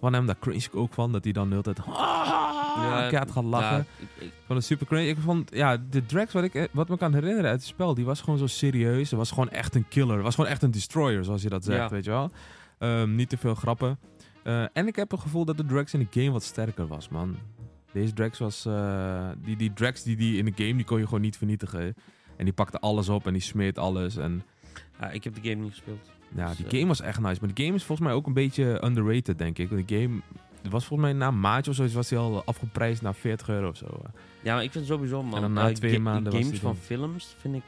[SPEAKER 6] van hem. Daar cringe ik ook van. Dat hij dan de hele tijd. Ja, keihard gaat lachen.
[SPEAKER 3] ja, ik- ik-
[SPEAKER 6] Van de super cringe. Ik vond, ja, de Drax, wat, ik, eh, wat me kan herinneren uit het spel, die was gewoon zo serieus. Ze was gewoon echt een killer. Was gewoon echt een destroyer, zoals je dat zegt,
[SPEAKER 3] Ja.
[SPEAKER 6] weet je wel. Ehm, niet te veel grappen. Eh, en ik heb het gevoel dat de Drax in de game wat sterker was, man. Deze Drax was... eh, die, die Drax die, die in de game, die kon je gewoon niet vernietigen. En die pakte alles op en die smeert alles. En
[SPEAKER 3] ja, ik heb de game niet gespeeld.
[SPEAKER 6] ja,
[SPEAKER 3] Dus,
[SPEAKER 6] die
[SPEAKER 3] eh,
[SPEAKER 6] game was echt nice. Maar die game is volgens mij ook een beetje underrated, denk ik. Want Die game... er was volgens mij na een maatje of zoiets was die al afgeprijsd naar 40 euro of zo.
[SPEAKER 3] Ja, maar ik vind het sowieso, man.
[SPEAKER 6] En dan na
[SPEAKER 3] eh,
[SPEAKER 6] twee
[SPEAKER 3] ga-
[SPEAKER 6] maanden was
[SPEAKER 3] Games
[SPEAKER 6] die
[SPEAKER 3] van
[SPEAKER 6] game.
[SPEAKER 3] films vind ik...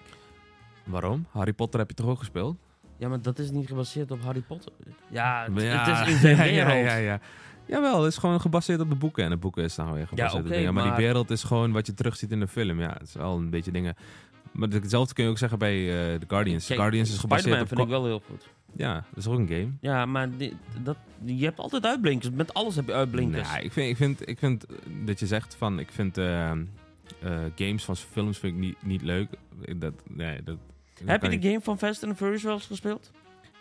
[SPEAKER 6] Waarom? Harry Potter heb je toch ook gespeeld?
[SPEAKER 3] Ja, maar dat is niet gebaseerd op Harry Potter. Ja, het,
[SPEAKER 6] Ja,
[SPEAKER 3] het is in zijn
[SPEAKER 6] ja,
[SPEAKER 3] wereld.
[SPEAKER 6] Ja, ja, ja. Jawel, het is gewoon gebaseerd op de boeken. En de boeken is nou weer gebaseerd op
[SPEAKER 3] oké,
[SPEAKER 6] dingen. Maar,
[SPEAKER 3] maar-
[SPEAKER 6] die wereld is gewoon wat je terugziet in de film. Ja, het is wel een beetje dingen... Maar hetzelfde kun je ook zeggen bij eh The Guardians. The
[SPEAKER 3] Kijk,
[SPEAKER 6] Guardians is gebaseerd
[SPEAKER 3] Spider-Man
[SPEAKER 6] op...
[SPEAKER 3] vind ik wel heel goed.
[SPEAKER 6] ko- Ja, dat is ook een game.
[SPEAKER 3] Ja, maar die- dat, je hebt altijd uitblinkers. Met alles heb je uitblinkers.
[SPEAKER 6] Nou, ik, vind, ik, vind, ik vind eh, dat je zegt van... Ik vind eh, eh, games van films vind ik niet, niet leuk. Dat, nee, dat,
[SPEAKER 3] heb je
[SPEAKER 6] dat
[SPEAKER 3] de
[SPEAKER 6] kan
[SPEAKER 3] game van Fast and Furious wel eens gespeeld?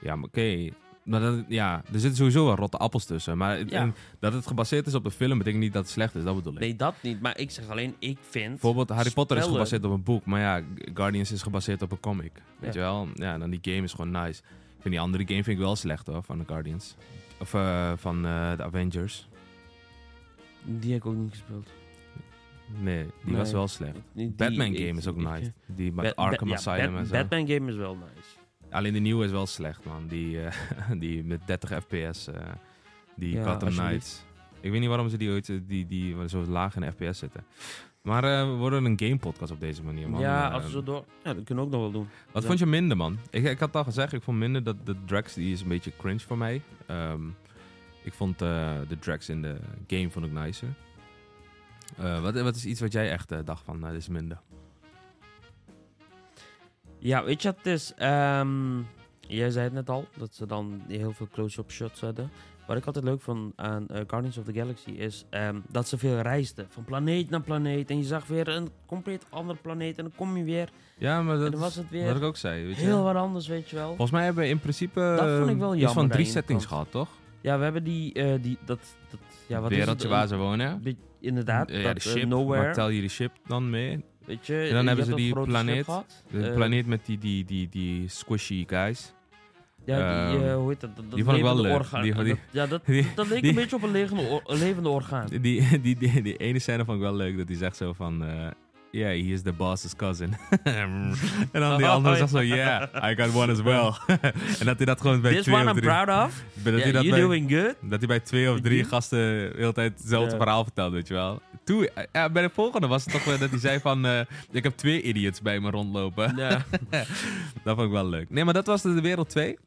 [SPEAKER 6] Ja, maar oké. Maar dat, ja, er zitten sowieso wel rotte appels tussen. Maar het-
[SPEAKER 3] Ja.
[SPEAKER 6] en dat het gebaseerd is op de film betekent niet dat het slecht is. Dat bedoel ik.
[SPEAKER 3] Nee, dat niet. Maar ik zeg alleen, ik vind...
[SPEAKER 6] Bijvoorbeeld Harry Potter is
[SPEAKER 3] spellen-
[SPEAKER 6] gebaseerd op een boek. Maar ja, G- Guardians is gebaseerd op een comic. Weet je wel? Ja, en dan die game is gewoon nice. Ik vind die andere game vind ik wel slecht hoor, van de Guardians. Of eh, van eh, de Avengers.
[SPEAKER 3] Die heb ik ook niet gespeeld.
[SPEAKER 6] Nee, die
[SPEAKER 3] Nee.
[SPEAKER 6] was wel slecht.
[SPEAKER 3] Die-
[SPEAKER 6] Batman
[SPEAKER 3] ik-
[SPEAKER 6] game is ook
[SPEAKER 3] ik-
[SPEAKER 6] nice. Die met
[SPEAKER 3] Ba- ba-
[SPEAKER 6] Arkham
[SPEAKER 3] ja,
[SPEAKER 6] Asylum
[SPEAKER 3] Bat-
[SPEAKER 6] en zo.
[SPEAKER 3] Batman game is wel nice.
[SPEAKER 6] Alleen de nieuwe is wel slecht, man. Die, eh, die met 30 fps, eh, die
[SPEAKER 3] Ja,
[SPEAKER 6] Gotham
[SPEAKER 3] alsjeblieft.
[SPEAKER 6] Knights. Ik weet niet waarom ze die ooit eh, die, die zo laag in fps zitten. Maar eh, we worden een game podcast op deze manier, man.
[SPEAKER 3] ja,
[SPEAKER 6] Eh,
[SPEAKER 3] als we zo door... Ja, dat kunnen we ook nog wel doen.
[SPEAKER 6] Wat
[SPEAKER 3] Ja.
[SPEAKER 6] vond je minder, man? Ik, ik had het al gezegd, ik vond minder dat de Drax, die is een beetje cringe voor mij. Ehm, ik vond eh, de Drax in de game vond ik nicer. Eh, wat, wat is iets wat jij echt eh, dacht van, nou, dit is minder?
[SPEAKER 3] Ja, weet je wat het is? Ehm, jij zei het net al, dat ze dan heel veel close-up shots hadden. Wat ik altijd leuk vond aan eh, Guardians of the Galaxy is ehm, dat ze veel reisden. Van planeet naar planeet. En je zag weer een compleet andere planeet. En dan kom je weer.
[SPEAKER 6] Ja, maar dat
[SPEAKER 3] dan
[SPEAKER 6] is
[SPEAKER 3] was het weer
[SPEAKER 6] wat ik ook zei, weet je?
[SPEAKER 3] Heel wat anders, weet je wel.
[SPEAKER 6] Volgens mij hebben we in principe
[SPEAKER 3] Dat vond ik wel
[SPEAKER 6] eh, iets
[SPEAKER 3] jammer
[SPEAKER 6] van
[SPEAKER 3] aan
[SPEAKER 6] drie
[SPEAKER 3] de
[SPEAKER 6] settings
[SPEAKER 3] ene
[SPEAKER 6] gehad, toch?
[SPEAKER 3] Ja, we hebben die... eh, die dat, dat, ja, wat is het?
[SPEAKER 6] Wereldje waar ze wonen.
[SPEAKER 3] Een beetje- Inderdaad,
[SPEAKER 6] Eh, ja,
[SPEAKER 3] dat,
[SPEAKER 6] de
[SPEAKER 3] eh,
[SPEAKER 6] ship. Maar
[SPEAKER 3] Nowhere.
[SPEAKER 6] tel je die ship dan mee?
[SPEAKER 3] Weet je,
[SPEAKER 6] dan
[SPEAKER 3] je
[SPEAKER 6] hebben
[SPEAKER 3] hebt
[SPEAKER 6] ze
[SPEAKER 3] dat
[SPEAKER 6] die
[SPEAKER 3] grote
[SPEAKER 6] planeet.
[SPEAKER 3] schip gehad.
[SPEAKER 6] De
[SPEAKER 3] Eh,
[SPEAKER 6] planeet met die, die, die, die squishy guys.
[SPEAKER 3] Ja, die,
[SPEAKER 6] Ehm,
[SPEAKER 3] eh, hoe heet dat? dat, dat
[SPEAKER 6] die vond ik wel
[SPEAKER 3] levende
[SPEAKER 6] leuk.
[SPEAKER 3] orgaan.
[SPEAKER 6] Die-
[SPEAKER 3] Dat-
[SPEAKER 6] die-
[SPEAKER 3] ja, dat,
[SPEAKER 6] die-
[SPEAKER 3] dat leek
[SPEAKER 6] die-
[SPEAKER 3] een beetje op een levende, or- een levende orgaan.
[SPEAKER 6] Die, die, die, die, die ene scène vond ik wel leuk. Dat hij zegt zo van... eh yeah, he is the boss's cousin. en dan die
[SPEAKER 3] Oh,
[SPEAKER 6] andere
[SPEAKER 3] ja.
[SPEAKER 6] zegt zo... Yeah, I got one as well. en dat hij dat gewoon bij
[SPEAKER 3] This
[SPEAKER 6] twee
[SPEAKER 3] one
[SPEAKER 6] of
[SPEAKER 3] I'm
[SPEAKER 6] drie...
[SPEAKER 3] proud of.
[SPEAKER 6] dat hij
[SPEAKER 3] Yeah,
[SPEAKER 6] dat
[SPEAKER 3] you're
[SPEAKER 6] bij-
[SPEAKER 3] doing good.
[SPEAKER 6] Dat hij bij twee of drie
[SPEAKER 3] You?
[SPEAKER 6] gasten de hele tijd hetzelfde
[SPEAKER 3] Ja.
[SPEAKER 6] verhaal vertelt, weet je wel. Toen, eh, ja, bij de volgende was het toch weer dat hij zei van... eh, ik heb twee idiots bij me rondlopen.
[SPEAKER 3] Ja.
[SPEAKER 6] Dat vond ik wel leuk. Nee, maar dat was de de wereld 2.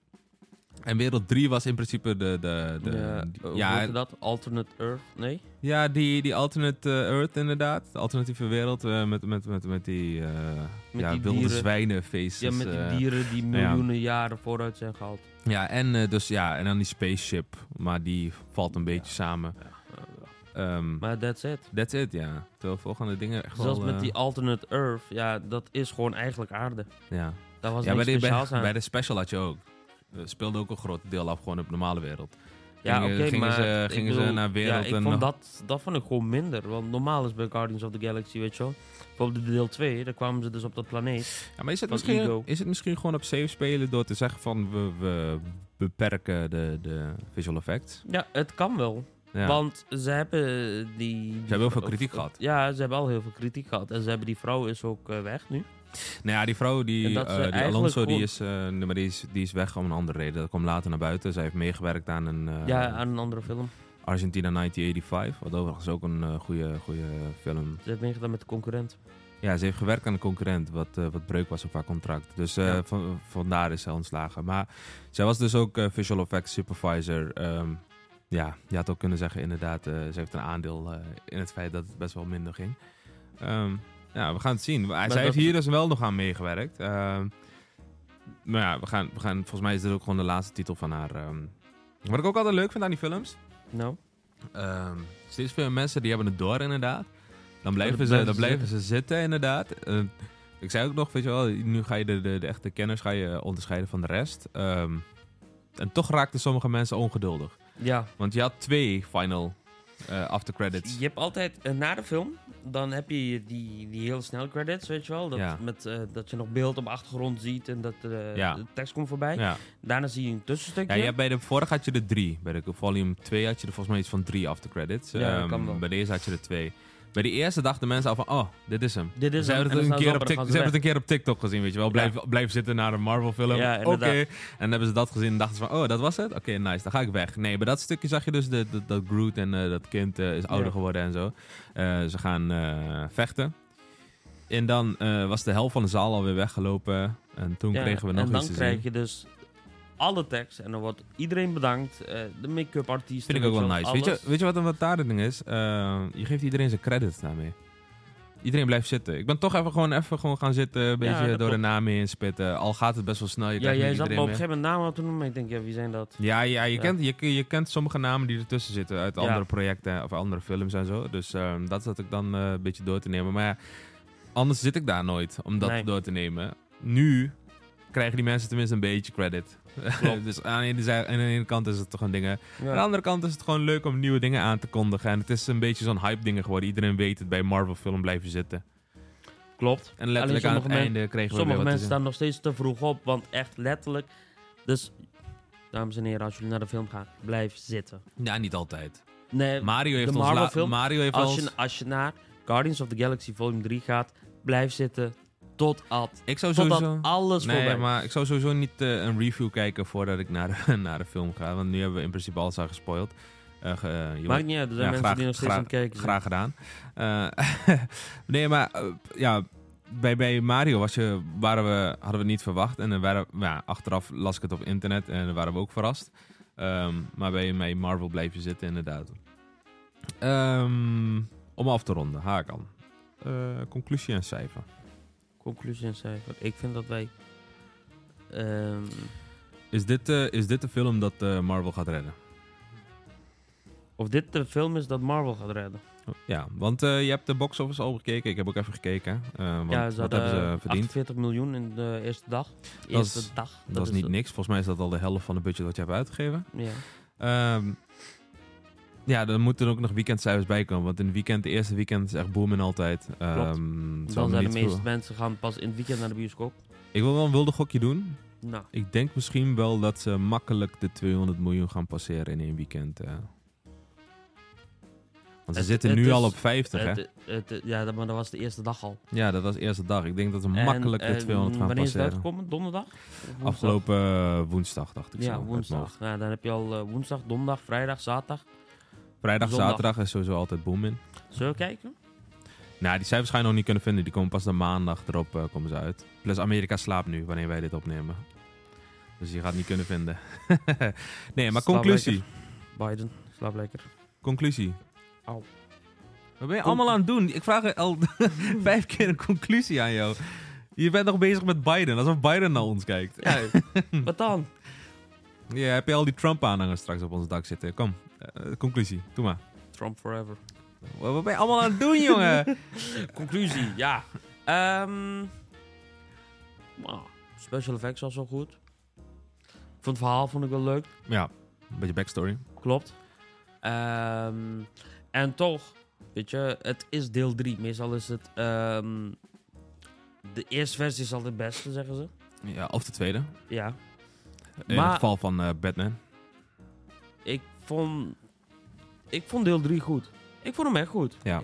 [SPEAKER 6] En wereld 3 was in principe de... de, de
[SPEAKER 3] ja,
[SPEAKER 6] die-
[SPEAKER 3] hoe
[SPEAKER 6] ja,
[SPEAKER 3] heette dat? Alternate Earth? Nee?
[SPEAKER 6] ja, die, die alternate eh, earth inderdaad. De alternatieve wereld eh, met, met, met, met die, eh ja,
[SPEAKER 3] die
[SPEAKER 6] wilde
[SPEAKER 3] dieren.
[SPEAKER 6] zwijnenfeestjes.
[SPEAKER 3] Ja, met die
[SPEAKER 6] eh.
[SPEAKER 3] dieren die
[SPEAKER 6] nou ja.
[SPEAKER 3] miljoenen jaren vooruit zijn gehaald.
[SPEAKER 6] Ja, en, eh, dus, ja, en dan die spaceship. Maar die valt een beetje samen. Ehm,
[SPEAKER 3] Maar that's it.
[SPEAKER 6] that's it, ja. Terwijl volgende dingen echt
[SPEAKER 3] Zelfs
[SPEAKER 6] wel...
[SPEAKER 3] met
[SPEAKER 6] eh,
[SPEAKER 3] die alternate Earth, ja, dat is gewoon eigenlijk aarde.
[SPEAKER 6] ja.
[SPEAKER 3] Daar was
[SPEAKER 6] Ja, bij de,
[SPEAKER 3] niks
[SPEAKER 6] bij,
[SPEAKER 3] speciaals aan.
[SPEAKER 6] bij de special had je ook. Er speelde ook een groot deel af gewoon op de normale wereld.
[SPEAKER 3] ja,
[SPEAKER 6] gingen-
[SPEAKER 3] oké,
[SPEAKER 6] gingen
[SPEAKER 3] maar
[SPEAKER 6] ze-
[SPEAKER 3] ik
[SPEAKER 6] gingen ze
[SPEAKER 3] bedoel,
[SPEAKER 6] naar wereld
[SPEAKER 3] ja, ik
[SPEAKER 6] en nog-
[SPEAKER 3] vond dat, dat vond ik gewoon minder. Want normaal is bij Guardians of the Galaxy, weet je wel. Bijvoorbeeld de deel 2, daar kwamen ze dus op dat planeet.
[SPEAKER 6] Ja, maar is het,
[SPEAKER 3] Van
[SPEAKER 6] misschien,
[SPEAKER 3] ego.
[SPEAKER 6] is het misschien gewoon op safe spelen door te zeggen van we, we beperken de, de visual effects?
[SPEAKER 3] Ja, het kan wel.
[SPEAKER 6] Ja.
[SPEAKER 3] Want ze hebben eh, die... Ze
[SPEAKER 6] hebben heel veel kritiek gehad.
[SPEAKER 3] Ja, ze hebben al heel veel kritiek gehad. En ze hebben die vrouw is ook eh, weg nu.
[SPEAKER 6] Nou ja, die vrouw,
[SPEAKER 3] En
[SPEAKER 6] die,
[SPEAKER 3] dat ze
[SPEAKER 6] eh, die
[SPEAKER 3] eigenlijk
[SPEAKER 6] Alonso, die
[SPEAKER 3] gewoon-
[SPEAKER 6] is, eh, nee, maar die, is, die is weg om een andere reden. Dat kwam later naar buiten. Zij heeft meegewerkt aan een eh,
[SPEAKER 3] ja, aan een andere film.
[SPEAKER 6] Argentina 1985. Wat overigens ook een eh, goede, goede film.
[SPEAKER 3] Ze heeft meegedaan met de concurrent.
[SPEAKER 6] Ja, ze heeft gewerkt aan een concurrent wat, eh, wat breuk was op haar contract. Dus eh,
[SPEAKER 3] Ja.
[SPEAKER 6] van, vandaar is zij ontslagen. Maar zij was dus ook eh, visual effects supervisor. Ehm, ja, je had ook kunnen zeggen inderdaad, eh, ze heeft een aandeel eh, in het feit dat het best wel minder ging. Ehm, ja, we gaan het zien. Maar zij
[SPEAKER 3] dat-
[SPEAKER 6] heeft hier dus wel nog aan meegewerkt. Ehm, maar ja, we gaan, we gaan, volgens mij is dit ook gewoon de laatste titel van haar. ehm. Wat ik ook altijd leuk vind aan die films.
[SPEAKER 3] Nou,
[SPEAKER 6] Ehm, steeds veel mensen die hebben het door, inderdaad. Dan blijven, ze,
[SPEAKER 3] dan blijven
[SPEAKER 6] dan
[SPEAKER 3] ze
[SPEAKER 6] blijven ze zitten, inderdaad. Eh, ik zei ook nog, weet je wel, nu ga je de, de, de echte kenners ga je onderscheiden van de rest. Ehm, en toch raakten sommige mensen ongeduldig.
[SPEAKER 3] ja.
[SPEAKER 6] Want je had twee final eh, after credits.
[SPEAKER 3] Je hebt altijd, eh, na de film, dan heb je die, die heel snel credits, weet je wel. Dat,
[SPEAKER 6] Ja.
[SPEAKER 3] met, eh, dat je nog beeld op de achtergrond ziet en dat eh,
[SPEAKER 6] Ja.
[SPEAKER 3] de tekst komt voorbij.
[SPEAKER 6] Ja.
[SPEAKER 3] Daarna zie je een
[SPEAKER 6] Ja,
[SPEAKER 3] tussenstukje.
[SPEAKER 6] je hebt bij de vorige had je er drie. Bij de volume 2 had je er volgens mij iets van drie after credits.
[SPEAKER 3] Ja, dat
[SPEAKER 6] Ehm,
[SPEAKER 3] kan wel.
[SPEAKER 6] Bij deze had je er twee. Bij de eerste dachten mensen al van, oh, dit is hem.
[SPEAKER 3] Dit is
[SPEAKER 6] ze
[SPEAKER 3] hem.
[SPEAKER 6] hebben
[SPEAKER 3] En
[SPEAKER 6] het, een
[SPEAKER 3] dan
[SPEAKER 6] keer
[SPEAKER 3] staan
[SPEAKER 6] op tik-
[SPEAKER 3] ze op en dan gaan
[SPEAKER 6] ze
[SPEAKER 3] ze
[SPEAKER 6] hebben het een keer op TikTok gezien, weet je wel. Blijf,
[SPEAKER 3] Ja.
[SPEAKER 6] blijf zitten naar een Marvel film.
[SPEAKER 3] Ja,
[SPEAKER 6] Oké.
[SPEAKER 3] inderdaad.
[SPEAKER 6] En dan hebben ze dat gezien en dachten ze van, oh, dat was het? Oké, nice, dan ga ik weg. Nee, bij dat stukje zag je dus de, dat- dat Groot en eh, dat kind eh, is ouder
[SPEAKER 3] Ja.
[SPEAKER 6] geworden en zo. Eh, ze gaan eh, vechten. En dan eh, was de helft van de zaal alweer weggelopen. En toen
[SPEAKER 3] Ja,
[SPEAKER 6] kregen we nog
[SPEAKER 3] En dan
[SPEAKER 6] iets te zien.
[SPEAKER 3] krijg je dus alle tekst en dan wordt iedereen bedankt. eh, de make-up artiest.
[SPEAKER 6] Vind ik ook wel nice. Weet je, weet je wat een wat daar het ding is? Eh, je geeft iedereen zijn credits daarmee. Iedereen blijft zitten. Ik ben toch even gewoon, even gewoon gaan zitten. Een beetje
[SPEAKER 3] dat
[SPEAKER 6] door de
[SPEAKER 3] klopt.
[SPEAKER 6] naam heen spitten. Al gaat het best wel snel. Je
[SPEAKER 3] ja,
[SPEAKER 6] krijgt
[SPEAKER 3] jij
[SPEAKER 6] niet
[SPEAKER 3] zat me op
[SPEAKER 6] iedereen mee.
[SPEAKER 3] een gegeven moment namen te noemen. Ik denk, ja, wie zijn dat?
[SPEAKER 6] Ja, ja, je,
[SPEAKER 3] Ja.
[SPEAKER 6] Kent, je, je kent sommige namen die ertussen zitten uit
[SPEAKER 3] Ja.
[SPEAKER 6] andere projecten of andere films en zo. Dus ehm, dat zat ik dan eh, een beetje door te nemen. Maar ja, anders zit ik daar nooit om dat
[SPEAKER 3] Nee.
[SPEAKER 6] door te nemen. Nu krijgen die mensen tenminste een beetje credit. dus aan de, ene, zij- aan de ene kant is het toch een dingen. Aan de
[SPEAKER 3] Ja.
[SPEAKER 6] andere kant is het gewoon leuk om nieuwe dingen aan te kondigen. En het is een beetje zo'n hype dingen geworden. Iedereen weet het bij Marvel film blijven zitten.
[SPEAKER 3] Klopt.
[SPEAKER 6] En letterlijk aan het
[SPEAKER 3] Alleen sommige men-
[SPEAKER 6] einde kregen we weer wat
[SPEAKER 3] Sommige
[SPEAKER 6] te
[SPEAKER 3] mensen
[SPEAKER 6] zien.
[SPEAKER 3] staan nog steeds te vroeg op, want echt letterlijk. Dus, dames en heren, als jullie naar de film gaan, blijf zitten.
[SPEAKER 6] Ja, niet altijd.
[SPEAKER 3] Nee,
[SPEAKER 6] Mario heeft
[SPEAKER 3] de
[SPEAKER 6] ons
[SPEAKER 3] Marvel
[SPEAKER 6] la-
[SPEAKER 3] film,
[SPEAKER 6] Mario heeft
[SPEAKER 3] als
[SPEAKER 6] ons-
[SPEAKER 3] je, als je naar Guardians of the Galaxy Volume 3 gaat, blijf zitten totdat,
[SPEAKER 6] Ik zou
[SPEAKER 3] totdat
[SPEAKER 6] sowieso...
[SPEAKER 3] alles
[SPEAKER 6] Nee,
[SPEAKER 3] voorbij is.
[SPEAKER 6] maar ik zou sowieso niet eh, een review kijken voordat ik naar, naar de film ga. Want nu hebben we in principe alles al gespoild. Eh, ge- eh, je
[SPEAKER 3] Maakt niet uit, er zijn
[SPEAKER 6] Ja,
[SPEAKER 3] mensen
[SPEAKER 6] graag-
[SPEAKER 3] die nog steeds
[SPEAKER 6] graag-
[SPEAKER 3] aan het kijken zijn.
[SPEAKER 6] Graag gedaan. Eh, nee, maar eh, ja, bij, bij Mario was je, waren we, hadden we het niet verwacht. En dan waren, ja, achteraf las ik het op internet en dan waren we ook verrast. Ehm, maar bij, bij Marvel bleef je zitten, inderdaad. Ehm, om af te ronden, Hakan. Eh conclusie en cijfer.
[SPEAKER 3] Conclusie en cijfer. Ik vind dat wij... ehm,
[SPEAKER 6] Is dit, eh, is dit de film dat eh, Marvel gaat redden?
[SPEAKER 3] of dit de film is dat Marvel gaat redden.
[SPEAKER 6] Ja, want eh, je hebt de box office al bekeken. Ik heb ook even gekeken. eh, want,
[SPEAKER 3] ja, ze
[SPEAKER 6] wat
[SPEAKER 3] hadden
[SPEAKER 6] hebben ze verdiend?
[SPEAKER 3] 48 miljoen in de eerste dag. De
[SPEAKER 6] Dat is-
[SPEAKER 3] eerste dag.
[SPEAKER 6] Dat, is niet niks. Volgens mij is dat al de helft van het budget wat je hebt uitgegeven.
[SPEAKER 3] Ja.
[SPEAKER 6] Ehm, ja, dan moeten er ook nog weekendcijfers bij komen. Want in het weekend, de eerste weekend is echt booming altijd. Ehm,
[SPEAKER 3] Klopt.
[SPEAKER 6] het zal
[SPEAKER 3] Dan
[SPEAKER 6] me
[SPEAKER 3] zijn de
[SPEAKER 6] niet
[SPEAKER 3] meeste
[SPEAKER 6] voor-
[SPEAKER 3] mensen gaan pas in het weekend naar de bioscoop.
[SPEAKER 6] Ik wil wel een wilde gokje doen.
[SPEAKER 3] Nou,
[SPEAKER 6] Ik denk misschien wel dat ze makkelijk de 200 miljoen gaan passeren in één weekend. eh. Want ze
[SPEAKER 3] Het-
[SPEAKER 6] zitten
[SPEAKER 3] het
[SPEAKER 6] nu
[SPEAKER 3] is-
[SPEAKER 6] al op 50, hè?
[SPEAKER 3] het, het- ja, dat- maar dat was de eerste dag al.
[SPEAKER 6] Ja, dat was de eerste dag. Ik denk dat ze
[SPEAKER 3] En,
[SPEAKER 6] makkelijk de
[SPEAKER 3] eh,
[SPEAKER 6] 200 gaan
[SPEAKER 3] Wanneer is het
[SPEAKER 6] passeren.
[SPEAKER 3] uitgekomen? Donderdag? Of woensdag?
[SPEAKER 6] Afgelopen eh, woensdag, dacht ik zo. uit
[SPEAKER 3] Ja,
[SPEAKER 6] mijn hoofd.
[SPEAKER 3] woensdag. Ja, dan heb je al eh, woensdag, donderdag, vrijdag, zaterdag.
[SPEAKER 6] Vrijdag,
[SPEAKER 3] Zondag.
[SPEAKER 6] zaterdag is sowieso altijd boom in.
[SPEAKER 3] Zullen we kijken?
[SPEAKER 6] Nou, die cijfers ga je nog niet kunnen vinden. Die komen pas de maandag erop eh, komen ze uit. Plus Amerika slaapt nu, wanneer wij dit opnemen. Dus je gaat het niet kunnen vinden. nee, maar
[SPEAKER 3] Slaap
[SPEAKER 6] conclusie.
[SPEAKER 3] Biden, slaap lekker.
[SPEAKER 6] Conclusie.
[SPEAKER 3] Au.
[SPEAKER 6] Wat ben je allemaal aan het doen? Ik vraag al vijf keer een conclusie aan jou. Je bent nog bezig met Biden, alsof Biden naar ons kijkt.
[SPEAKER 3] Ja, wat dan?
[SPEAKER 6] Ja, heb je al die Trump-aanhangers straks op ons dak zitten? Kom, eh, conclusie. Doe maar.
[SPEAKER 3] Trump forever.
[SPEAKER 6] Wat wat ben je allemaal aan het doen, jongen?
[SPEAKER 3] Conclusie, ja. Ehm, nou, special effects was wel goed. Ik vond het verhaal vond ik wel leuk.
[SPEAKER 6] Ja, een beetje backstory.
[SPEAKER 3] Klopt. Ehm, en toch, weet je, het is deel 3. Meestal is het. ehm, de eerste versie is altijd het beste, zeggen ze.
[SPEAKER 6] Ja, of de tweede.
[SPEAKER 3] Ja.
[SPEAKER 6] In
[SPEAKER 3] Maar-
[SPEAKER 6] het geval van eh, Batman.
[SPEAKER 3] Ik vond. Ik vond deel 3 goed. Ik vond hem echt goed.
[SPEAKER 6] Ja.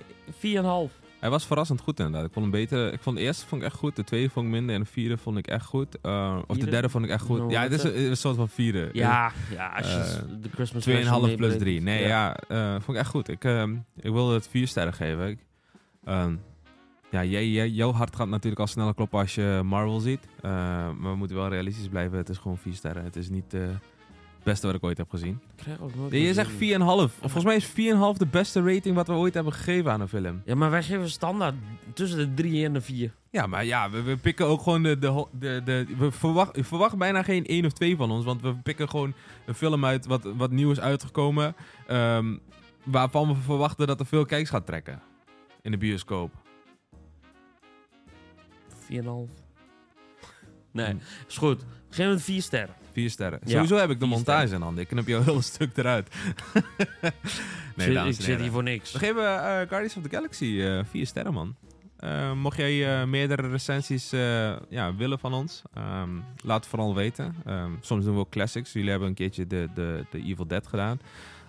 [SPEAKER 3] 4,5.
[SPEAKER 6] Hij was verrassend goed inderdaad. Ik vond hem beter. Ik vond de eerste vond ik echt goed, de tweede vond ik minder en de vierde vond ik echt goed. Eh, of de
[SPEAKER 3] Vierde?
[SPEAKER 6] derde vond ik echt goed.
[SPEAKER 3] Nou,
[SPEAKER 6] ja, het is
[SPEAKER 3] wat,
[SPEAKER 6] een, een soort van vierde.
[SPEAKER 3] Ja, ja, als je
[SPEAKER 6] Eh,
[SPEAKER 3] de Christmas version
[SPEAKER 6] 2,5 plus
[SPEAKER 3] meebrengt.
[SPEAKER 6] 3. Nee, ja, eh, vond ik echt goed. Ik, ehm, ik wilde het vier sterren geven. Ik, ehm, ja, jij, jij, jouw hart gaat natuurlijk al sneller kloppen als je Marvel ziet. Eh, maar we moeten wel realistisch blijven. Het is gewoon vier sterren. Het is niet eh, het beste wat ik ooit heb gezien.
[SPEAKER 3] Ik krijg ook nooit
[SPEAKER 6] Nee, je
[SPEAKER 3] wat
[SPEAKER 6] zegt
[SPEAKER 3] doen.
[SPEAKER 6] 4,5. Volgens mij is 4,5 de beste rating wat we ooit hebben gegeven aan een film.
[SPEAKER 3] Ja, maar wij geven standaard tussen de 3 en de 4.
[SPEAKER 6] Ja, maar ja, we, we pikken ook gewoon de... de, ho- de, de we verwacht, verwacht bijna geen één of twee van ons. Want we pikken gewoon een film uit wat, wat nieuw is uitgekomen. ehm, waarvan we verwachten dat er veel kijks gaat trekken. In de bioscoop.
[SPEAKER 3] 4,5. Nee,
[SPEAKER 6] Mm.
[SPEAKER 3] is goed. Hmm. Geef hem 4 sterren.
[SPEAKER 6] Vier sterren.
[SPEAKER 3] Ja,
[SPEAKER 6] Sowieso heb ik de
[SPEAKER 3] vier
[SPEAKER 6] montage in handen. Ik knip jouw hele stuk eruit. nee, dames
[SPEAKER 3] Zit- ik
[SPEAKER 6] en
[SPEAKER 3] zit
[SPEAKER 6] heren.
[SPEAKER 3] hier voor niks.
[SPEAKER 6] We geven eh, Guardians of the Galaxy eh, vier sterren, man. Eh, mocht jij eh, meerdere recensies eh, ja, willen van ons, ehm, laat het vooral weten. Ehm, soms doen we ook classics. Jullie hebben een keertje de, de, de Evil Dead gedaan.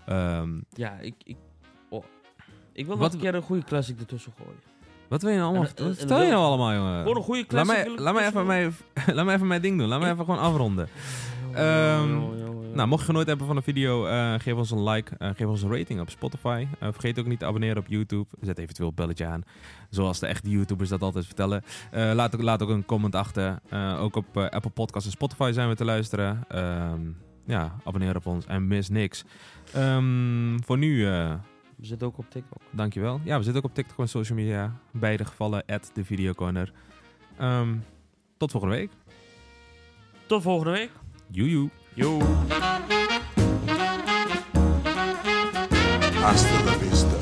[SPEAKER 6] Ehm,
[SPEAKER 3] Ja, ik... ik, oh. ik wil
[SPEAKER 6] Wat-
[SPEAKER 3] nog een keer een goede classic ertussen gooien.
[SPEAKER 6] wat wil je nou allemaal?
[SPEAKER 3] En- en-
[SPEAKER 6] wat
[SPEAKER 3] en
[SPEAKER 6] vertel je
[SPEAKER 3] wil-
[SPEAKER 6] nou allemaal, jongen?
[SPEAKER 3] Gewoon een goede
[SPEAKER 6] Laat
[SPEAKER 3] classic.
[SPEAKER 6] mij,
[SPEAKER 3] wil ik
[SPEAKER 6] laat, mij even
[SPEAKER 3] ertussen
[SPEAKER 6] mijn, laat mij even mijn ding doen. Laat mij
[SPEAKER 3] Ik-
[SPEAKER 6] even gewoon afronden.
[SPEAKER 3] gooien.
[SPEAKER 6] Ehm,
[SPEAKER 3] Jongen, jongen, jongen.
[SPEAKER 6] Nou, mocht je genoten hebben van de video, eh, geef ons een like. eh, geef ons een rating op Spotify. Eh, vergeet ook niet te abonneren op YouTube. Zet eventueel het belletje aan. Zoals de echte YouTubers dat altijd vertellen. Eh, laat, ook, laat ook een comment achter. Eh, ook op eh, Apple Podcasts en Spotify zijn we te luisteren. Ehm, ja, abonneer op ons en mis niks. Ehm, voor nu, eh,
[SPEAKER 3] We zitten ook op TikTok.
[SPEAKER 6] dankjewel. Ja, we zitten ook op TikTok en social media. Beide gevallen, at de videocorner. Ehm, tot volgende week.
[SPEAKER 3] Tot volgende week.
[SPEAKER 6] Joejoe.
[SPEAKER 3] Yo.
[SPEAKER 5] Hasta la vista,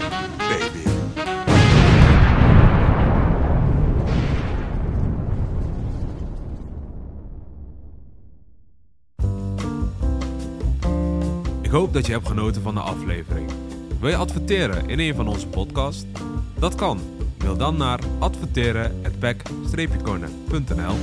[SPEAKER 5] baby.
[SPEAKER 6] Ik hoop dat je hebt genoten van de aflevering. Wil je adverteren in een van onze podcasts? Dat kan. Mail dan naar adverteren@pack-corner.nl